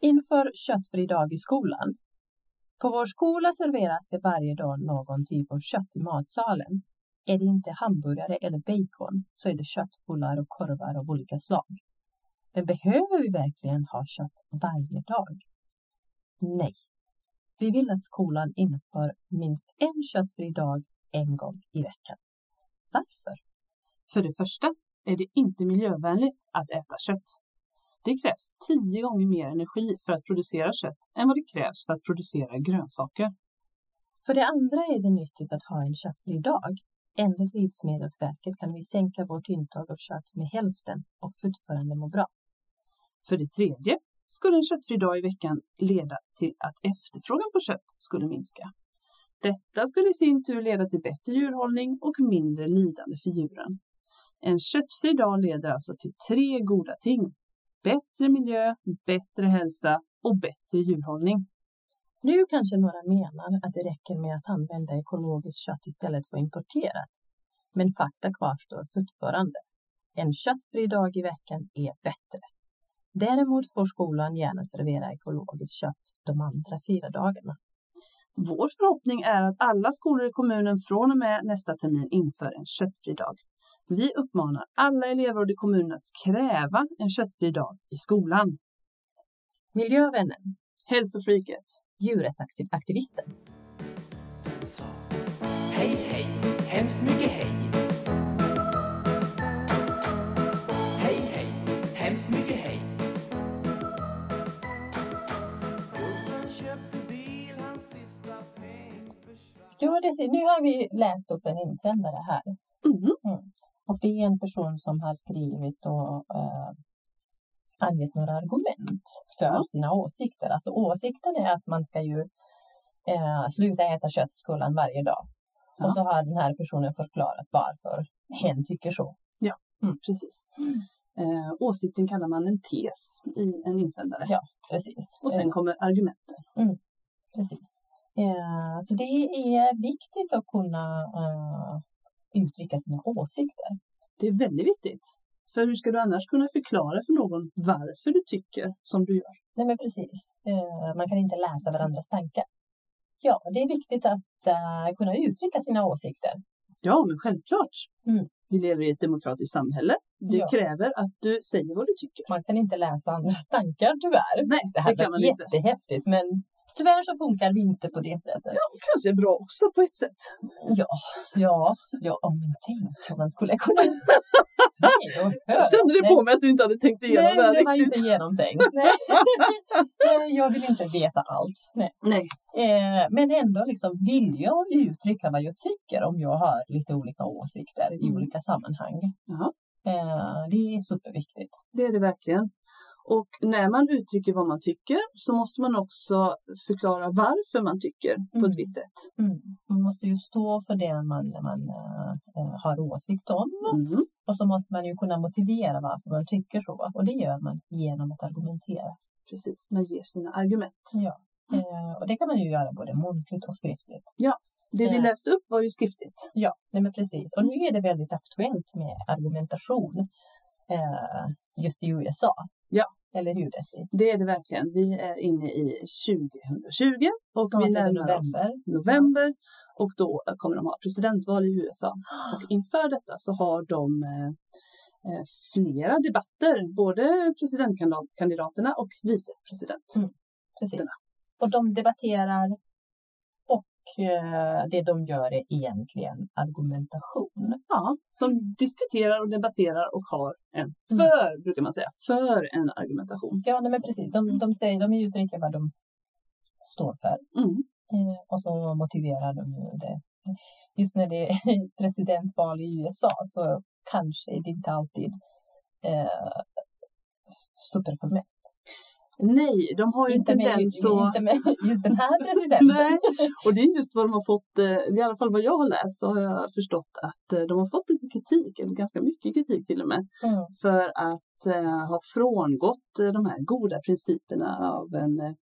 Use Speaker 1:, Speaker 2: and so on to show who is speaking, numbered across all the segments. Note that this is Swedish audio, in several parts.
Speaker 1: Inför köttfri dag i skolan. På vår skola serveras det varje dag någon typ av kött i matsalen. Är det inte hamburgare eller bacon så är det köttbullar och korvar av olika slag. Men behöver vi verkligen ha kött varje dag? Nej. Vi vill att skolan inför minst en köttfri dag en gång i veckan. Varför?
Speaker 2: För det första är det inte miljövänligt att äta kött. Det krävs tio gånger mer energi för att producera kött än vad det krävs för att producera grönsaker.
Speaker 1: För det andra är det nyttigt att ha en köttfri dag. Enligt Livsmedelsverket kan vi sänka vårt intag av kött med hälften och fortfarande må bra.
Speaker 2: För det tredje skulle en köttfri dag i veckan leda till att efterfrågan på kött skulle minska. Detta skulle i sin tur leda till bättre djurhållning och mindre lidande för djuren. En köttfri dag leder alltså till tre goda ting. Bättre miljö, bättre hälsa och bättre djurhållning.
Speaker 1: Nu kanske några menar att det räcker med att använda ekologiskt kött istället för importerat. Men fakta kvarstår fortfarande. En köttfri dag i veckan är bättre. Däremot får skolan gärna servera ekologiskt kött de andra fyra dagarna.
Speaker 2: Vår förhoppning är att alla skolor i kommunen från och med nästa termin inför en köttfri dag. Vi uppmanar alla elevråd i kommunen att kräva en köttfri dag i skolan.
Speaker 1: Miljövännen,
Speaker 2: Hälsofreaket!
Speaker 1: djurrättsaktivisten.
Speaker 3: sa Hej, hej, hemskt mycket hej Hej, hej, hemskt mycket hej Gubben köpte bil, hans sista peng försvann
Speaker 1: Jo, det ser, nu har vi läst upp en insändare här. Mm.
Speaker 2: Mhm.
Speaker 1: Och det är en person som har skrivit och eh, angett några argument för
Speaker 2: Ja.
Speaker 1: sina åsikter. Alltså åsikten är att man ska ju eh, sluta äta kött i skolan varje dag.
Speaker 2: Ja.
Speaker 1: Och så har den här personen förklarat varför hen tycker så.
Speaker 2: Precis.
Speaker 1: Mm.
Speaker 2: Eh, åsikten kallar man en tes i en insändare.
Speaker 1: Ja. Precis.
Speaker 2: Och sen
Speaker 1: Eh,
Speaker 2: kommer argumenten.
Speaker 1: precis. Eh, så det är viktigt att kunna eh, uttrycka sina åsikter.
Speaker 2: Det är väldigt viktigt. För hur ska du annars kunna förklara för någon varför du tycker som du gör?
Speaker 1: Nej, men precis. Eh, Man kan inte läsa varandras tankar. Ja, det är viktigt att eh, kunna uttrycka sina åsikter.
Speaker 2: Ja, men självklart.
Speaker 1: Mm.
Speaker 2: Vi lever i ett demokratiskt samhälle. Det
Speaker 1: Ja.
Speaker 2: kräver att du säger vad du tycker.
Speaker 1: Man kan inte läsa andras tankar tyvärr.
Speaker 2: Nej,
Speaker 1: Det
Speaker 2: det,
Speaker 1: här
Speaker 2: kan man
Speaker 1: var
Speaker 2: inte.
Speaker 1: jättehäftigt, men tyvärr så funkar vi inte på det sättet.
Speaker 2: Ja, kanske är bra också på ett sätt.
Speaker 1: Ja, ja, ja, oh, men tänk om man skulle kunna se och höra.
Speaker 2: Jag kände det
Speaker 1: Nej,
Speaker 2: på mig att du inte hade tänkt igenom
Speaker 1: Nej,
Speaker 2: det här
Speaker 1: det var
Speaker 2: riktigt.
Speaker 1: inte genomtänkt. Nej. Nej, jag vill inte veta allt. Nej.
Speaker 2: Nej.
Speaker 1: Eh, men ändå liksom vill jag uttrycka vad jag tycker om jag har lite olika åsikter i
Speaker 2: Mm.
Speaker 1: olika sammanhang.
Speaker 2: Jaha.
Speaker 1: Eh, det är superviktigt.
Speaker 2: Det är det verkligen. Och när man uttrycker vad man tycker så måste man också förklara varför man tycker på
Speaker 1: Mm.
Speaker 2: ett visst sätt.
Speaker 1: Man måste ju stå för det man, man eh, eh, har åsikt om
Speaker 2: Mm.
Speaker 1: och så måste man ju kunna motivera varför man tycker så och det gör man genom att argumentera.
Speaker 2: Precis, man ger sina argument.
Speaker 1: Ja.
Speaker 2: Mm.
Speaker 1: Eh, och det kan man ju göra både muntligt och skriftligt.
Speaker 2: Det vi
Speaker 1: Ja.
Speaker 2: läste upp var ju skriftligt.
Speaker 1: Ja, nej men precis. Och nu är det väldigt aktuellt med argumentation eh, just i USA.
Speaker 2: Ja.
Speaker 1: Eller hur Desi?
Speaker 2: Det är det verkligen. Vi är inne i 2020 och
Speaker 1: Snart
Speaker 2: vi
Speaker 1: är det
Speaker 2: närmar
Speaker 1: november.
Speaker 2: oss november. Och då kommer de ha presidentval i USA. Och inför detta så har de eh, eh, flera debatter, både presidentkandidaterna och vicepresident.
Speaker 1: Mm. Precis.
Speaker 2: Denna.
Speaker 1: Och de debatterar och eh, det de gör är egentligen argumentation.
Speaker 2: Ja, de diskuterar och debatterar och har en
Speaker 1: Mm.
Speaker 2: för, brukar man säga, för en argumentation.
Speaker 1: Ja, nej, men precis. De, de, säger, de uttrycker vad de står för
Speaker 2: Mm.
Speaker 1: eh, och så motiverar de ju det. Just när det är presidentval i USA så kanske det inte alltid eh, superformellt.
Speaker 2: Nej, de har ju en
Speaker 1: Inte med,
Speaker 2: tendens så...
Speaker 1: inte med just den här
Speaker 2: Nej,
Speaker 1: presidenten.
Speaker 2: och det är just vad de har fått, eh, i alla fall vad jag har läst så har jag förstått att eh, de har fått lite kritik, eller ganska mycket kritik till och med,
Speaker 1: Mm.
Speaker 2: för att eh, ha frångått eh, de här goda principerna av en, eh,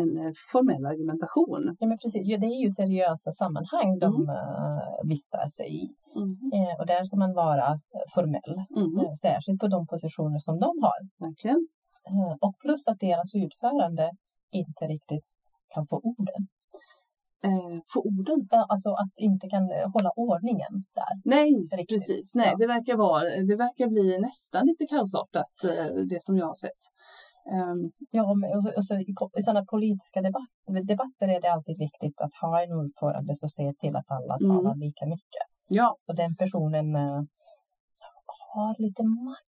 Speaker 2: en eh, formell argumentation.
Speaker 1: Ja, men precis. Ja, det är ju seriösa sammanhang de
Speaker 2: Mm.
Speaker 1: eh, vistas i.
Speaker 2: Mm-hmm.
Speaker 1: Eh, och där ska man vara eh, formell,
Speaker 2: Mm,
Speaker 1: eh, särskilt på de positioner som de har.
Speaker 2: verkligen.
Speaker 1: Eh, Och plus att deras utförande inte riktigt kan få orden.
Speaker 2: Eh, få orden?
Speaker 1: Ja, Alltså att inte kan eh, hålla ordningen där.
Speaker 2: Nej,
Speaker 1: Riktigt.
Speaker 2: precis. Nej,
Speaker 1: Ja.
Speaker 2: det, verkar vara, det verkar bli nästan lite kaosartat, eh, det som jag har sett. Ehm,
Speaker 1: Ja, men- och så, och så, i ko- I sådana politiska debatter, debatter är det alltid viktigt att ha en ordförande som ser till att alla
Speaker 2: Mm.
Speaker 1: talar lika mycket.
Speaker 2: ja,
Speaker 1: Och den personen eh, har lite makt.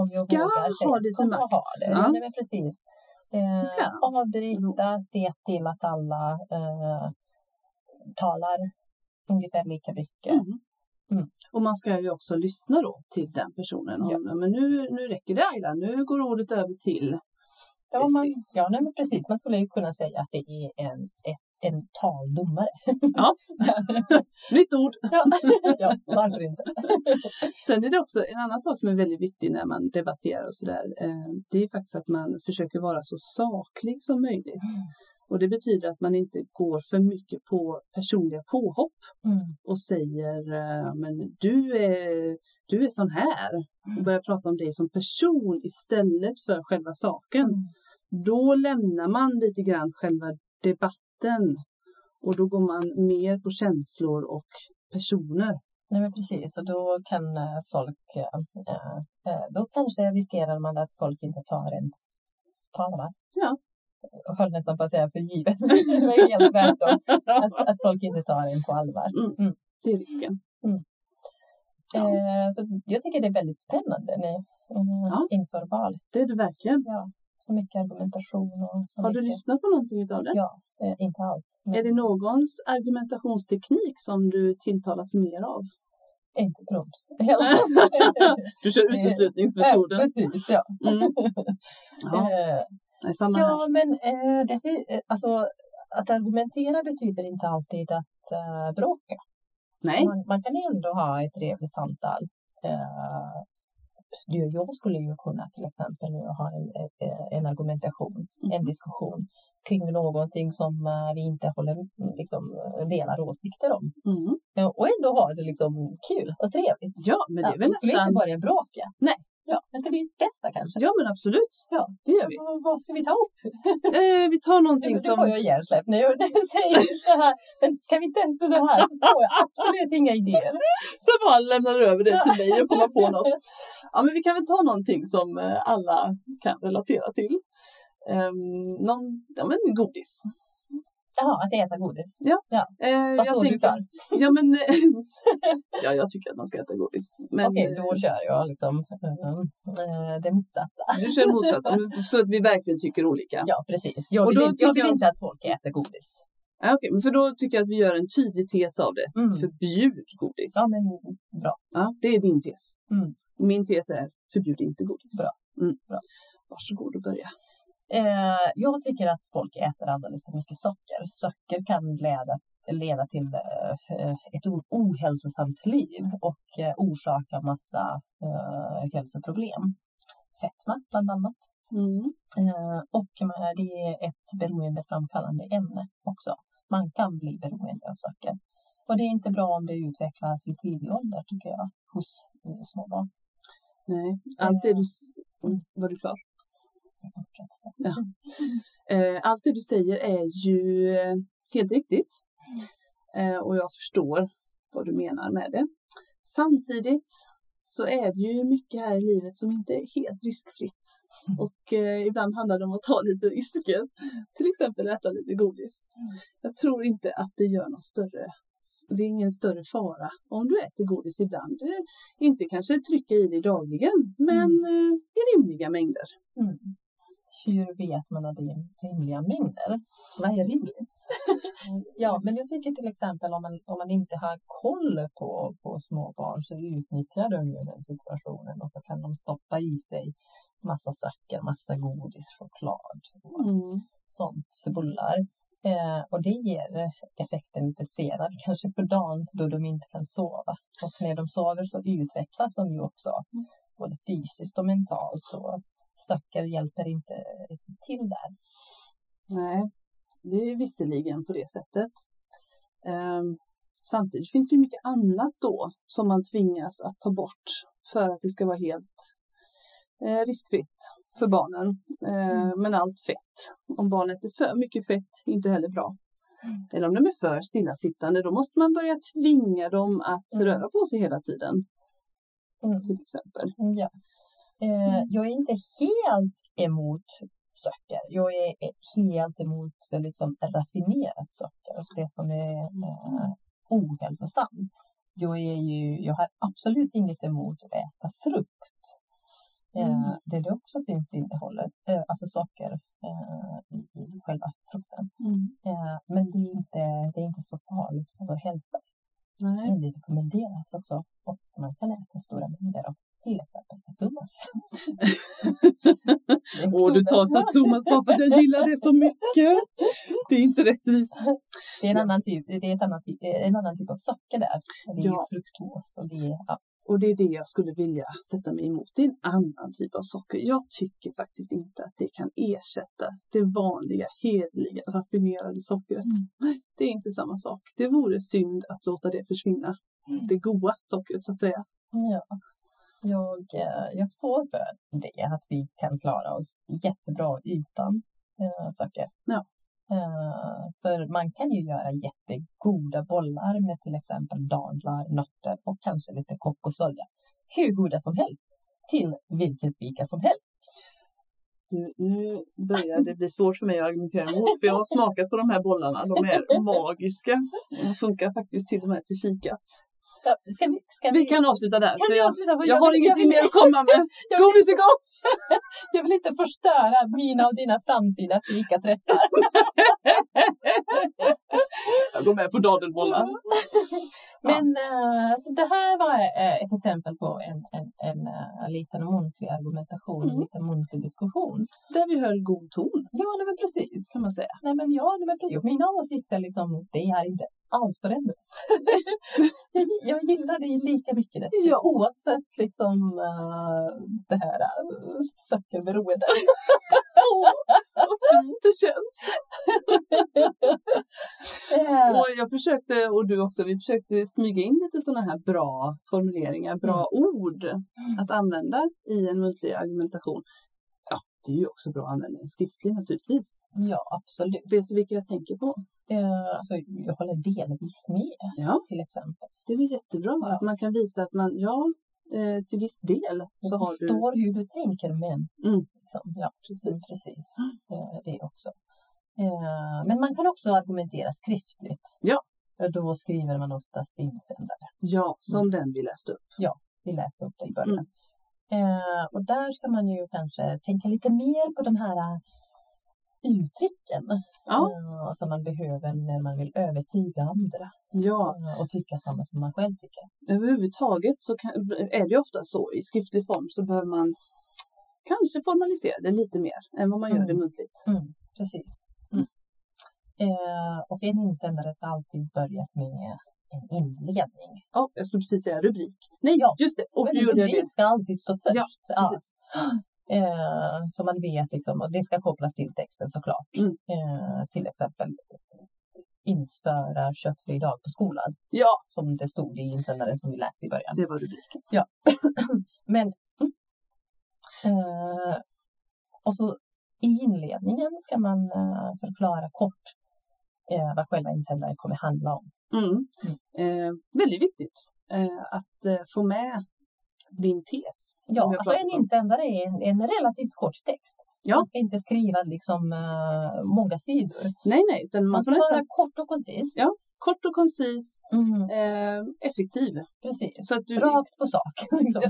Speaker 1: Om jag
Speaker 2: Ska
Speaker 1: vågar säga.
Speaker 2: ha lite
Speaker 1: Ska
Speaker 2: makt.
Speaker 1: ha det.
Speaker 2: Ja.
Speaker 1: Nej, men precis. Eh,
Speaker 2: Ska.
Speaker 1: Avbryta, se till att alla eh, talar ungefär lika mycket.
Speaker 2: Mm.
Speaker 1: Mm.
Speaker 2: Och man ska ju också lyssna då till den personen.
Speaker 1: Ja.
Speaker 2: Om, men nu, nu räcker det Ayla, nu går ordet över till.
Speaker 1: Ja, man,
Speaker 2: Precis.
Speaker 1: ja nej, men precis. Man skulle ju kunna säga att det är en, ett, en taldomare.
Speaker 2: Ja. Nytt ord!
Speaker 1: Ja, ja varför inte?
Speaker 2: Sen är det också en annan sak som är väldigt viktig när man debatterar och sådär. eh, Det är faktiskt att man försöker vara så saklig som möjligt. Och det betyder att man inte går för mycket på personliga påhopp
Speaker 1: Mm.
Speaker 2: och säger eh, men du är, du är sån här och börjar prata om dig som person istället för själva saken.
Speaker 1: Mm.
Speaker 2: Då lämnar man lite grann själva debatten och då går man mer på känslor och personer.
Speaker 1: Nej, men precis. Och då kan eh, folk... eh, eh, då kanske riskerar man att folk inte tar en talare.
Speaker 2: Ja.
Speaker 1: Jag höll nästan på att säga för givet. det var helt tvärtom. Att, att folk inte tar en på allvar.
Speaker 2: Det är risken. Ja.
Speaker 1: Eh, så jag tycker det är väldigt spännande nu, eh,
Speaker 2: Ja.
Speaker 1: inför val.
Speaker 2: Det är det verkligen.
Speaker 1: Ja. Så mycket argumentation och så
Speaker 2: Har
Speaker 1: mycket.
Speaker 2: du lyssnat på någonting utav det?
Speaker 1: Ja, eh, inte allt.
Speaker 2: Är det någons argumentationsteknik som du tilltalas mer av?
Speaker 1: Inte Troms. Hela.
Speaker 2: Du kör
Speaker 1: Eh,
Speaker 2: uteslutningsmetoden.
Speaker 1: Precis, ja.
Speaker 2: Mm. Ja,
Speaker 1: Eh,
Speaker 2: det är samma här.
Speaker 1: Ja, men eh, det, fin- eh, alltså, att argumentera betyder inte alltid att eh, bråka.
Speaker 2: Nej,
Speaker 1: Man, man kan ju ändå ha ett trevligt samtal. Eh, du och jag skulle ju kunna till exempel nu ha en, eh, en argumentation,
Speaker 2: Mm.
Speaker 1: en diskussion kring någonting som eh, vi inte håller, liksom, eh, delar åsikter om.
Speaker 2: mm.
Speaker 1: Eh, och ändå ha det liksom kul och trevligt.
Speaker 2: ja men det är
Speaker 1: Ja,
Speaker 2: väl
Speaker 1: då ska vi
Speaker 2: nästan
Speaker 1: inte börja bråka.
Speaker 2: Nej.
Speaker 1: Ja, men ska vi testa kanske?
Speaker 2: Ja, men absolut.
Speaker 1: Ja.
Speaker 2: Det gör vi.
Speaker 1: Vad- Vad ska vi ta upp?
Speaker 2: Eh, vi tar
Speaker 1: Nej, men
Speaker 2: någonting
Speaker 1: det får
Speaker 2: som...
Speaker 1: jag hjärnsläpp nu när jag säger så här. Men ska vi inte ens det här så får jag absolut inga idéer.
Speaker 2: Sen bara lämnar du över det till mig och kommer på något. Ja, men vi kan väl ta någonting som eh, alla kan relatera till. Um, någon, ja, men godis.
Speaker 1: Jaha, att äta godis.
Speaker 2: Eh,
Speaker 1: Vad står du för?
Speaker 2: Ja, men... eh, ja, jag tycker att man ska äta godis. Men
Speaker 1: Okej,
Speaker 2: eh,
Speaker 1: då kör jag liksom eh, det motsatta.
Speaker 2: du kör motsatt. men Så att vi verkligen tycker olika.
Speaker 1: Ja, precis. Jag
Speaker 2: Och
Speaker 1: vill,
Speaker 2: då
Speaker 1: inte, jag
Speaker 2: tycker
Speaker 1: vill
Speaker 2: jag
Speaker 1: inte att folk äter godis.
Speaker 2: Ja, okej, men för då tycker jag att vi gör en tydlig tes av det.
Speaker 1: Mm.
Speaker 2: Förbjud godis.
Speaker 1: Ja, men bra.
Speaker 2: Ja, det är din tes.
Speaker 1: Mm.
Speaker 2: Min tes är förbjud inte godis.
Speaker 1: Bra.
Speaker 2: Mm.
Speaker 1: Bra.
Speaker 2: Varsågod och börja.
Speaker 1: Eh, jag tycker att folk äter alldeles för mycket socker. Socker kan leda, leda till eh, ett o- ohälsosamt liv och eh, orsaka massa eh, hälsoproblem. Fetma bland annat.
Speaker 2: Mm.
Speaker 1: Eh, och man- det är ett beroendeframkallande ämne också. Man kan bli beroende av socker. Och det är inte bra om det utvecklas i tidig ålder tycker jag, hos eh, små barn.
Speaker 2: Nej, allt det du... s- Mm, Var du klar?
Speaker 1: Jag kan fortsätta sen.
Speaker 2: Ja. Eh, allt det du säger är ju eh, helt riktigt. Eh, och jag förstår vad du menar med det. Samtidigt så är det ju mycket här i livet som inte är helt riskfritt. Och eh, ibland handlar det om att ta lite risker. Till exempel äta lite godis. Jag tror inte att det gör någon större det är ingen större fara om du äter godis ibland. Eh, Inte kanske trycka i dig dagligen, men eh, i rimliga mängder.
Speaker 1: Mm. Hur vet man att det är rimliga mängder? Vad är rimligt? ja, men jag tycker till exempel om man, om man inte har koll på, på små barn så utnyttjar de ju den situationen och så kan de stoppa i sig massa socker, massa godis, choklad. och
Speaker 2: Mm,
Speaker 1: sånt, bullar. Eh, och det ger effekten lite senare, kanske på dagen då de inte kan sova. Och när de sover så utvecklas de ju också, både fysiskt och mentalt. Och socker hjälper inte riktigt till där.
Speaker 2: Nej, det är visserligen på det sättet. Ehm, samtidigt finns det ju mycket annat då som man tvingas att ta bort för att det ska vara helt eh, riskfritt för barnen. Eh, men allt fett. Om barnet äter för mycket fett, inte heller bra.
Speaker 1: Mm.
Speaker 2: Eller om de är för stillasittande, då måste man börja tvinga dem att
Speaker 1: Mm.
Speaker 2: röra på sig hela tiden.
Speaker 1: Mm.
Speaker 2: Till exempel.
Speaker 1: Mm, Ja. Eh, Jag är inte helt emot socker. Jag är helt emot eh, liksom, raffinerat socker, alltså det som är eh, ohälsosamt. Jag, är ju, jag har absolut inget emot att äta frukt. Eh,
Speaker 2: Mm.
Speaker 1: Där det också finns innehållet, eh, alltså socker eh, i, i själva frukten.
Speaker 2: Mm.
Speaker 1: Eh, men det är, inte, det är inte så farligt för vår hälsa.
Speaker 2: Nej.
Speaker 1: Men det rekommenderas också och man kan äta stora mängder av till exempel satsumas.
Speaker 2: Åh, du tar satsumas bara för att jag gillar det så mycket. Det är inte rättvist.
Speaker 1: Det är en annan typ, det är ett annat, typ- en annan typ av socker där. Det är
Speaker 2: Ja.
Speaker 1: ja. fruktos och det är... Ja.
Speaker 2: Och det är det jag skulle vilja sätta mig emot. Det är en annan typ av socker. Jag tycker faktiskt inte att det kan ersätta det vanliga, hederliga, raffinerade sockret.
Speaker 1: Mm.
Speaker 2: Nej, Det är inte samma sak. Det vore synd att låta det försvinna.
Speaker 1: Mm.
Speaker 2: Det goda sockret så att säga.
Speaker 1: Ja. Jag, eh, jag står för det, att vi kan klara oss jättebra utan eh, socker.
Speaker 2: Ja.
Speaker 1: Eh, för man kan ju göra jättegoda bollar med till exempel dadlar, nötter och kanske lite kokosolja. Hur goda som helst, till vilken fika som helst.
Speaker 2: Nu, nu börjar det bli svårt för mig att argumentera emot för jag har smakat på de här bollarna. De är magiska. De funkar faktiskt till och med till fikat.
Speaker 1: Ja, Ska vi, ska vi,
Speaker 2: Vi kan avsluta där.
Speaker 1: kan
Speaker 2: för
Speaker 1: vi
Speaker 2: jag,
Speaker 1: avsluta? För
Speaker 2: jag har
Speaker 1: vill-
Speaker 2: ingenting
Speaker 1: vill-
Speaker 2: mer att komma med.
Speaker 1: Jag vill,
Speaker 2: Godis är gott!
Speaker 1: jag vill inte förstöra mina och dina framtida fikaträffar.
Speaker 2: Jag går med på dadelbollar.
Speaker 1: Men eh, så det här var eh, ett exempel på en, en, en eh, liten muntlig argumentation,
Speaker 2: Mm.
Speaker 1: en liten muntlig diskussion.
Speaker 2: Där vi höll god ton
Speaker 1: Ja, nej, men precis.
Speaker 2: kan man säga.
Speaker 1: Nej, men ja, nej, men, precis. mina åsikter liksom, det har inte alls förändrats. jag, jag gillar dig lika mycket Nessie,
Speaker 2: Ja.
Speaker 1: oavsett liksom, eh, det här uh, sockerberoendet.
Speaker 2: Vad fint det känns!
Speaker 1: Eh,
Speaker 2: Och jag försökte, och du också, vi försökte smyga in lite sådana här bra formuleringar, bra ord att använda i en muntlig argumentation. Ja, det är ju också bra att använda i en skriftlig naturligtvis.
Speaker 1: ja, absolut.
Speaker 2: Vet du vilka jag tänker på?
Speaker 1: Eh, alltså, jag håller delvis med,
Speaker 2: Ja,
Speaker 1: till exempel.
Speaker 2: det är väl jättebra att man kan visa att man, ja, eh, till viss del så
Speaker 1: Jag
Speaker 2: har du...
Speaker 1: förstår hur du tänker, men...
Speaker 2: Mm.
Speaker 1: Liksom, ja,
Speaker 2: Precis.
Speaker 1: precis. Eh, Det också. Eh, Men man kan också argumentera skriftligt.
Speaker 2: Ja.
Speaker 1: Och Då skriver man oftast insändare.
Speaker 2: Ja, som den vi läste upp.
Speaker 1: Vi läste upp det i
Speaker 2: Mm.
Speaker 1: början. Eh, Och där ska man ju kanske tänka lite mer på de här eh, uttrycken
Speaker 2: Ja,
Speaker 1: eh, som man behöver när man vill övertyga andra
Speaker 2: ja
Speaker 1: eh, och tycka samma som man själv tycker.
Speaker 2: överhuvudtaget så kan, är det ju ofta så i skriftlig form så behöver man kanske formalisera det lite mer än vad man gör det
Speaker 1: Mm.
Speaker 2: muntligt.
Speaker 1: Mm, precis.
Speaker 2: Mm.
Speaker 1: Eh, och en insändare ska alltid börjas med en inledning.
Speaker 2: Ja, jag skulle precis säga rubrik. Nej,
Speaker 1: Ja.
Speaker 2: just det! Och
Speaker 1: Men
Speaker 2: hur gjorde jag det?
Speaker 1: rubrik ska alltid stå först.
Speaker 2: Ja, Precis.
Speaker 1: Eh, så man vet, liksom, och det ska kopplas till texten såklart.
Speaker 2: Mm.
Speaker 1: Eh, till exempel införa köttfri dag på skolan,
Speaker 2: Ja,
Speaker 1: som det stod i insändaren som vi läste i början.
Speaker 2: det var rubriken.
Speaker 1: Men... Eh, och så i inledningen ska man eh, förklara kort eh, vad själva insändaren kommer handla om.
Speaker 2: Mm. Eh, väldigt viktigt eh, att eh, få med din tes. som
Speaker 1: Ja,
Speaker 2: vi har
Speaker 1: alltså en
Speaker 2: pratat om.
Speaker 1: insändare är en, en relativt kort text.
Speaker 2: Ja.
Speaker 1: Man ska inte skriva liksom, eh, många sidor. Man,
Speaker 2: Nej, nej, utan man,
Speaker 1: ska
Speaker 2: får nästan
Speaker 1: vara kort och koncis.
Speaker 2: Ja. kort och koncis,
Speaker 1: Mm,
Speaker 2: eh, effektiv.
Speaker 1: precis.
Speaker 2: Så att du
Speaker 1: Rakt på sak. Liksom.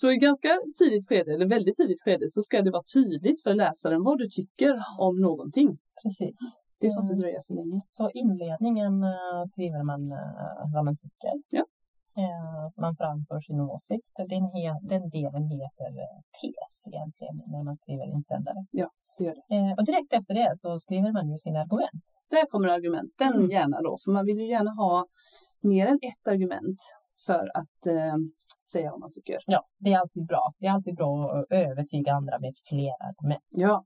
Speaker 2: Så i ganska tidigt skede, eller väldigt tidigt skede, så ska det vara tydligt för läsaren vad du tycker om någonting.
Speaker 1: precis.
Speaker 2: Det får inte
Speaker 1: Mm.
Speaker 2: dröja för länge.
Speaker 1: Så inledningen eh, skriver man eh, vad man tycker.
Speaker 2: Ja.
Speaker 1: Eh, man framför sin åsikt. Den, he- den delen heter eh, tes egentligen när man skriver insändare.
Speaker 2: Ja, det gör
Speaker 1: Eh, och direkt efter det så skriver man ju sina argument.
Speaker 2: Där kommer argumenten
Speaker 1: Mm.
Speaker 2: gärna då, för man vill ju gärna ha mer än ett argument för att eh, säga vad man tycker.
Speaker 1: Ja, det är alltid bra. Det är alltid bra att övertyga andra med fler argument.
Speaker 2: Ja,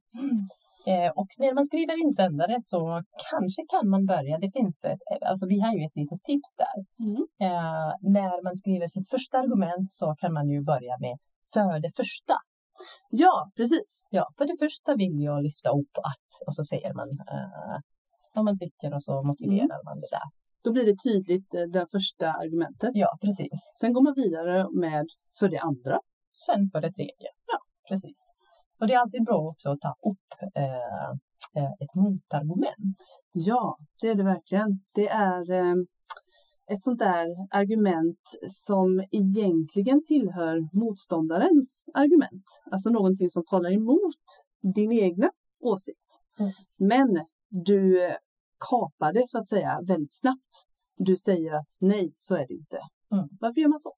Speaker 1: Eh, och när man skriver insändare så kanske kan man börja, det finns ett, alltså vi har ju ett litet tips där.
Speaker 2: Mm.
Speaker 1: Eh, när man skriver sitt första argument så kan man ju börja med för det första.
Speaker 2: Ja, precis.
Speaker 1: Ja, för det första vill jag lyfta upp att och så säger man eh, vad man tycker och så motiverar
Speaker 2: Mm.
Speaker 1: man det där.
Speaker 2: Då blir det tydligt eh, det första argumentet.
Speaker 1: Ja, precis.
Speaker 2: Sen går man vidare med för det andra.
Speaker 1: Sen för det tredje. Ja, precis. Och det är alltid bra också att ta upp eh, eh, ett motargument.
Speaker 2: Ja, det är det verkligen. Det är eh, ett sånt där argument som egentligen tillhör motståndarens argument. Alltså någonting som talar emot din egna åsikt.
Speaker 1: Mm.
Speaker 2: Men du eh, kapar det så att säga väldigt snabbt. Du säger att nej, så är det inte.
Speaker 1: Mm.
Speaker 2: Varför gör man så?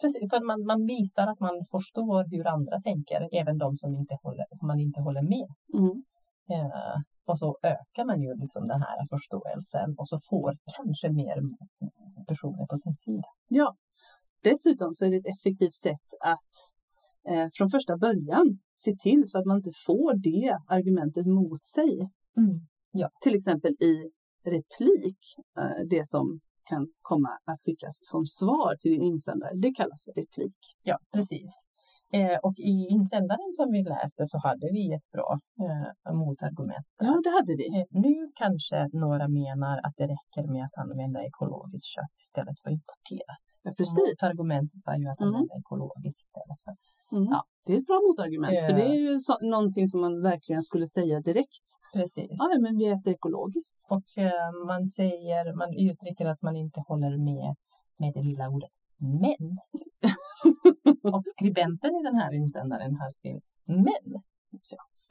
Speaker 1: Precis, för att man, man visar att man förstår hur andra tänker, även de som, inte håller, som man inte håller med.
Speaker 2: Mm.
Speaker 1: Eh, och så ökar man ju liksom den här förståelsen och så får kanske mer personer på sin sida.
Speaker 2: Ja. Dessutom så är det ett effektivt sätt att eh, från första början se till så att man inte får det argumentet mot sig. Till exempel i replik, eh, det som kan komma att skickas som svar till din insändare, det kallas replik.
Speaker 1: Ja, precis. Eh, och i insändaren som vi läste så hade vi ett bra eh, motargument.
Speaker 2: Ja, det hade vi.
Speaker 1: Eh, nu kanske några menar att det räcker med att använda ekologiskt kött istället för importerat.
Speaker 2: Ja,
Speaker 1: Så
Speaker 2: precis.
Speaker 1: Motargumentet var ju att
Speaker 2: Mm.
Speaker 1: använda ekologiskt istället för
Speaker 2: Mm.
Speaker 1: Ja.
Speaker 2: Det är ett bra motargument, för det är ju så, någonting som man verkligen skulle säga direkt.
Speaker 1: Precis.
Speaker 2: Ja, ja, men vi äter ekologiskt.
Speaker 1: Och eh, man säger, man uttrycker att man inte håller med med det lilla ordet men. och skribenten i den här insändaren har skrivit men.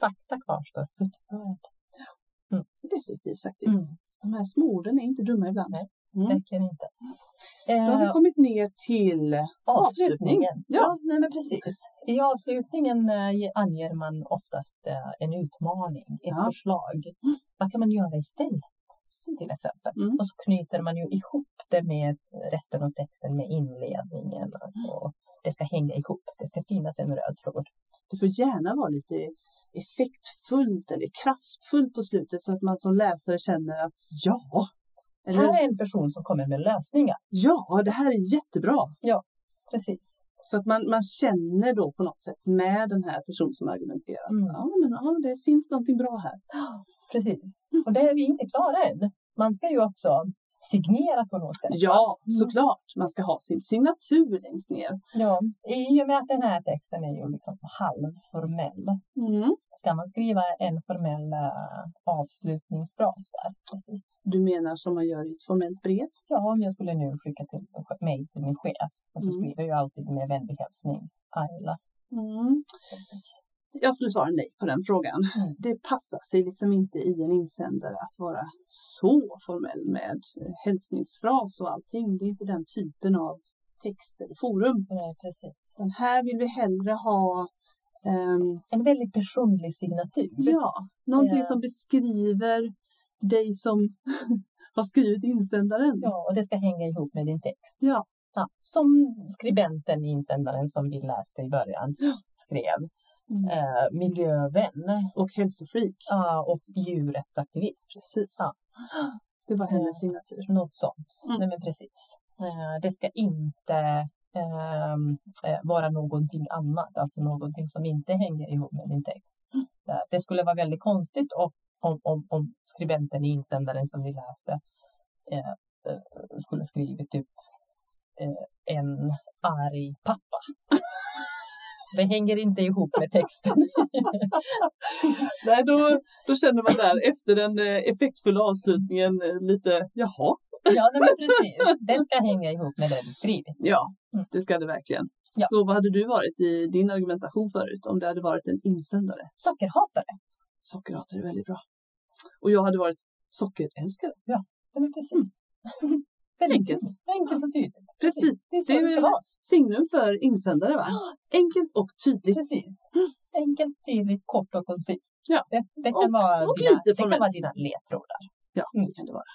Speaker 1: Fakta kvarstår fortfarande.
Speaker 2: Definitivt faktiskt.
Speaker 1: Mm.
Speaker 2: De här små orden är inte dumma ibland.
Speaker 1: Nej.
Speaker 2: Mm.
Speaker 1: Verkligen inte.
Speaker 2: Då har vi
Speaker 1: Eh,
Speaker 2: kommit ner till avslutning.
Speaker 1: avslutningen.
Speaker 2: Ja.
Speaker 1: Ja, nej men precis. I avslutningen eh, ge- anger man oftast eh, en utmaning, ett
Speaker 2: Ja.
Speaker 1: förslag. Vad kan man göra istället? Till exempel.
Speaker 2: Mm.
Speaker 1: Och så knyter man ju ihop det med resten av texten med inledningen.
Speaker 2: Mm.
Speaker 1: Och det ska hänga ihop. Det ska finnas en röd tråd.
Speaker 2: Det får gärna vara lite effektfullt eller kraftfullt på slutet så att man som läsare känner att ja, eller
Speaker 1: Här är en person som kommer med lösningar.
Speaker 2: ja, det här är jättebra.
Speaker 1: Precis.
Speaker 2: Så att man, man känner då på något sätt med den här personen som argumenterar.
Speaker 1: Mm.
Speaker 2: Ja, men ja, det finns någonting bra här.
Speaker 1: Precis.
Speaker 2: Mm.
Speaker 1: Och det är vi inte klara än. Man ska ju också signera på något sätt.
Speaker 2: Ja, såklart. Man ska ha sin signatur längst ner.
Speaker 1: Ja. I och med att den här texten är ju liksom halvformell.
Speaker 2: Mm.
Speaker 1: Ska man skriva en formell eh, avslutningsfras där? Precis.
Speaker 2: Du menar som man gör i ett formellt brev?
Speaker 1: Ja, om jag skulle nu skicka till mejl till min chef och så
Speaker 2: Mm.
Speaker 1: skriver jag alltid med vänlig hälsning Ayla.
Speaker 2: Mm. Jag skulle svara nej på den frågan.
Speaker 1: Mm.
Speaker 2: Det passar sig liksom inte i en insändare att vara så formell med eh, hälsningsfras och allting. Det är inte den typen av text eller forum.
Speaker 1: Nej, precis.
Speaker 2: Den här vill vi hellre ha ehm,
Speaker 1: En väldigt personlig signatur.
Speaker 2: ja, någonting
Speaker 1: Ja.
Speaker 2: som beskriver dig som har skrivit insändaren.
Speaker 1: Ja, och det ska hänga ihop med din text.
Speaker 2: Ja.
Speaker 1: Ja, som skribenten i insändaren som vi läste i början skrev.
Speaker 2: Mm.
Speaker 1: Eh, miljövän
Speaker 2: Och hälsofreak.
Speaker 1: ja, och djurrättsaktivist.
Speaker 2: Precis.
Speaker 1: Ja. Eh.
Speaker 2: Det var
Speaker 1: Ja.
Speaker 2: hennes signatur.
Speaker 1: Något sånt.
Speaker 2: Mm.
Speaker 1: Nej, men precis. Eh, det ska inte ehm, eh, vara någonting annat, alltså någonting som inte hänger ihop med din text. Eh, det skulle vara väldigt konstigt om, om, om, om skribenten i insändaren som vi läste eh, eh, skulle skrivit typ eh, en arg pappa. Det hänger inte ihop med texten.
Speaker 2: Nej, då, då känner man där efter den eh, effektfulla avslutningen eh, lite jaha.
Speaker 1: Ja, nej, men precis. Den ska hänga ihop med det du skrivit.
Speaker 2: Ja,
Speaker 1: Mm.
Speaker 2: det ska det verkligen.
Speaker 1: Ja.
Speaker 2: Så vad hade du varit i din argumentation förut om det hade varit en insändare?
Speaker 1: Sockerhatare.
Speaker 2: Sockerhatare är väldigt bra. Och jag hade varit sockerälskare.
Speaker 1: Ja, men precis. Väldigt
Speaker 2: Mm. Enkelt.
Speaker 1: tydligt. Enkelt och tydligt.
Speaker 2: Precis,
Speaker 1: Det är så
Speaker 2: Det är
Speaker 1: det, ska
Speaker 2: ju-
Speaker 1: vara.
Speaker 2: signum för insändare va? Enkelt och tydligt.
Speaker 1: Precis. Enkelt, tydligt, kort och koncist.
Speaker 2: Ja.
Speaker 1: Det, det, kan,
Speaker 2: Och-
Speaker 1: vara
Speaker 2: och
Speaker 1: dina,
Speaker 2: lite
Speaker 1: det kan
Speaker 2: formellt.
Speaker 1: vara dina ledtrådar.
Speaker 2: Ja,
Speaker 1: Mm.
Speaker 2: det kan det vara.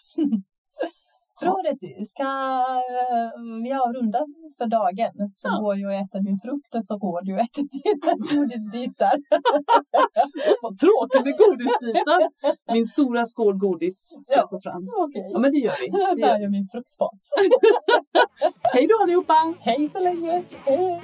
Speaker 1: Bra Desi. Ska eh, vi avrunda för dagen? Så
Speaker 2: Ja.
Speaker 1: går jag och äter min frukt och så går du och äter dina godisbitar.
Speaker 2: Usch, vad tråkigt med godisbitar. Min stora skål godis ska
Speaker 1: Ja.
Speaker 2: jag ta fram.
Speaker 1: Okej.
Speaker 2: Ja, men det gör vi. Det
Speaker 1: Där
Speaker 2: gör.
Speaker 1: är min fruktfat.
Speaker 2: vi. Hej då allihopa!
Speaker 1: Hej så länge! Hej.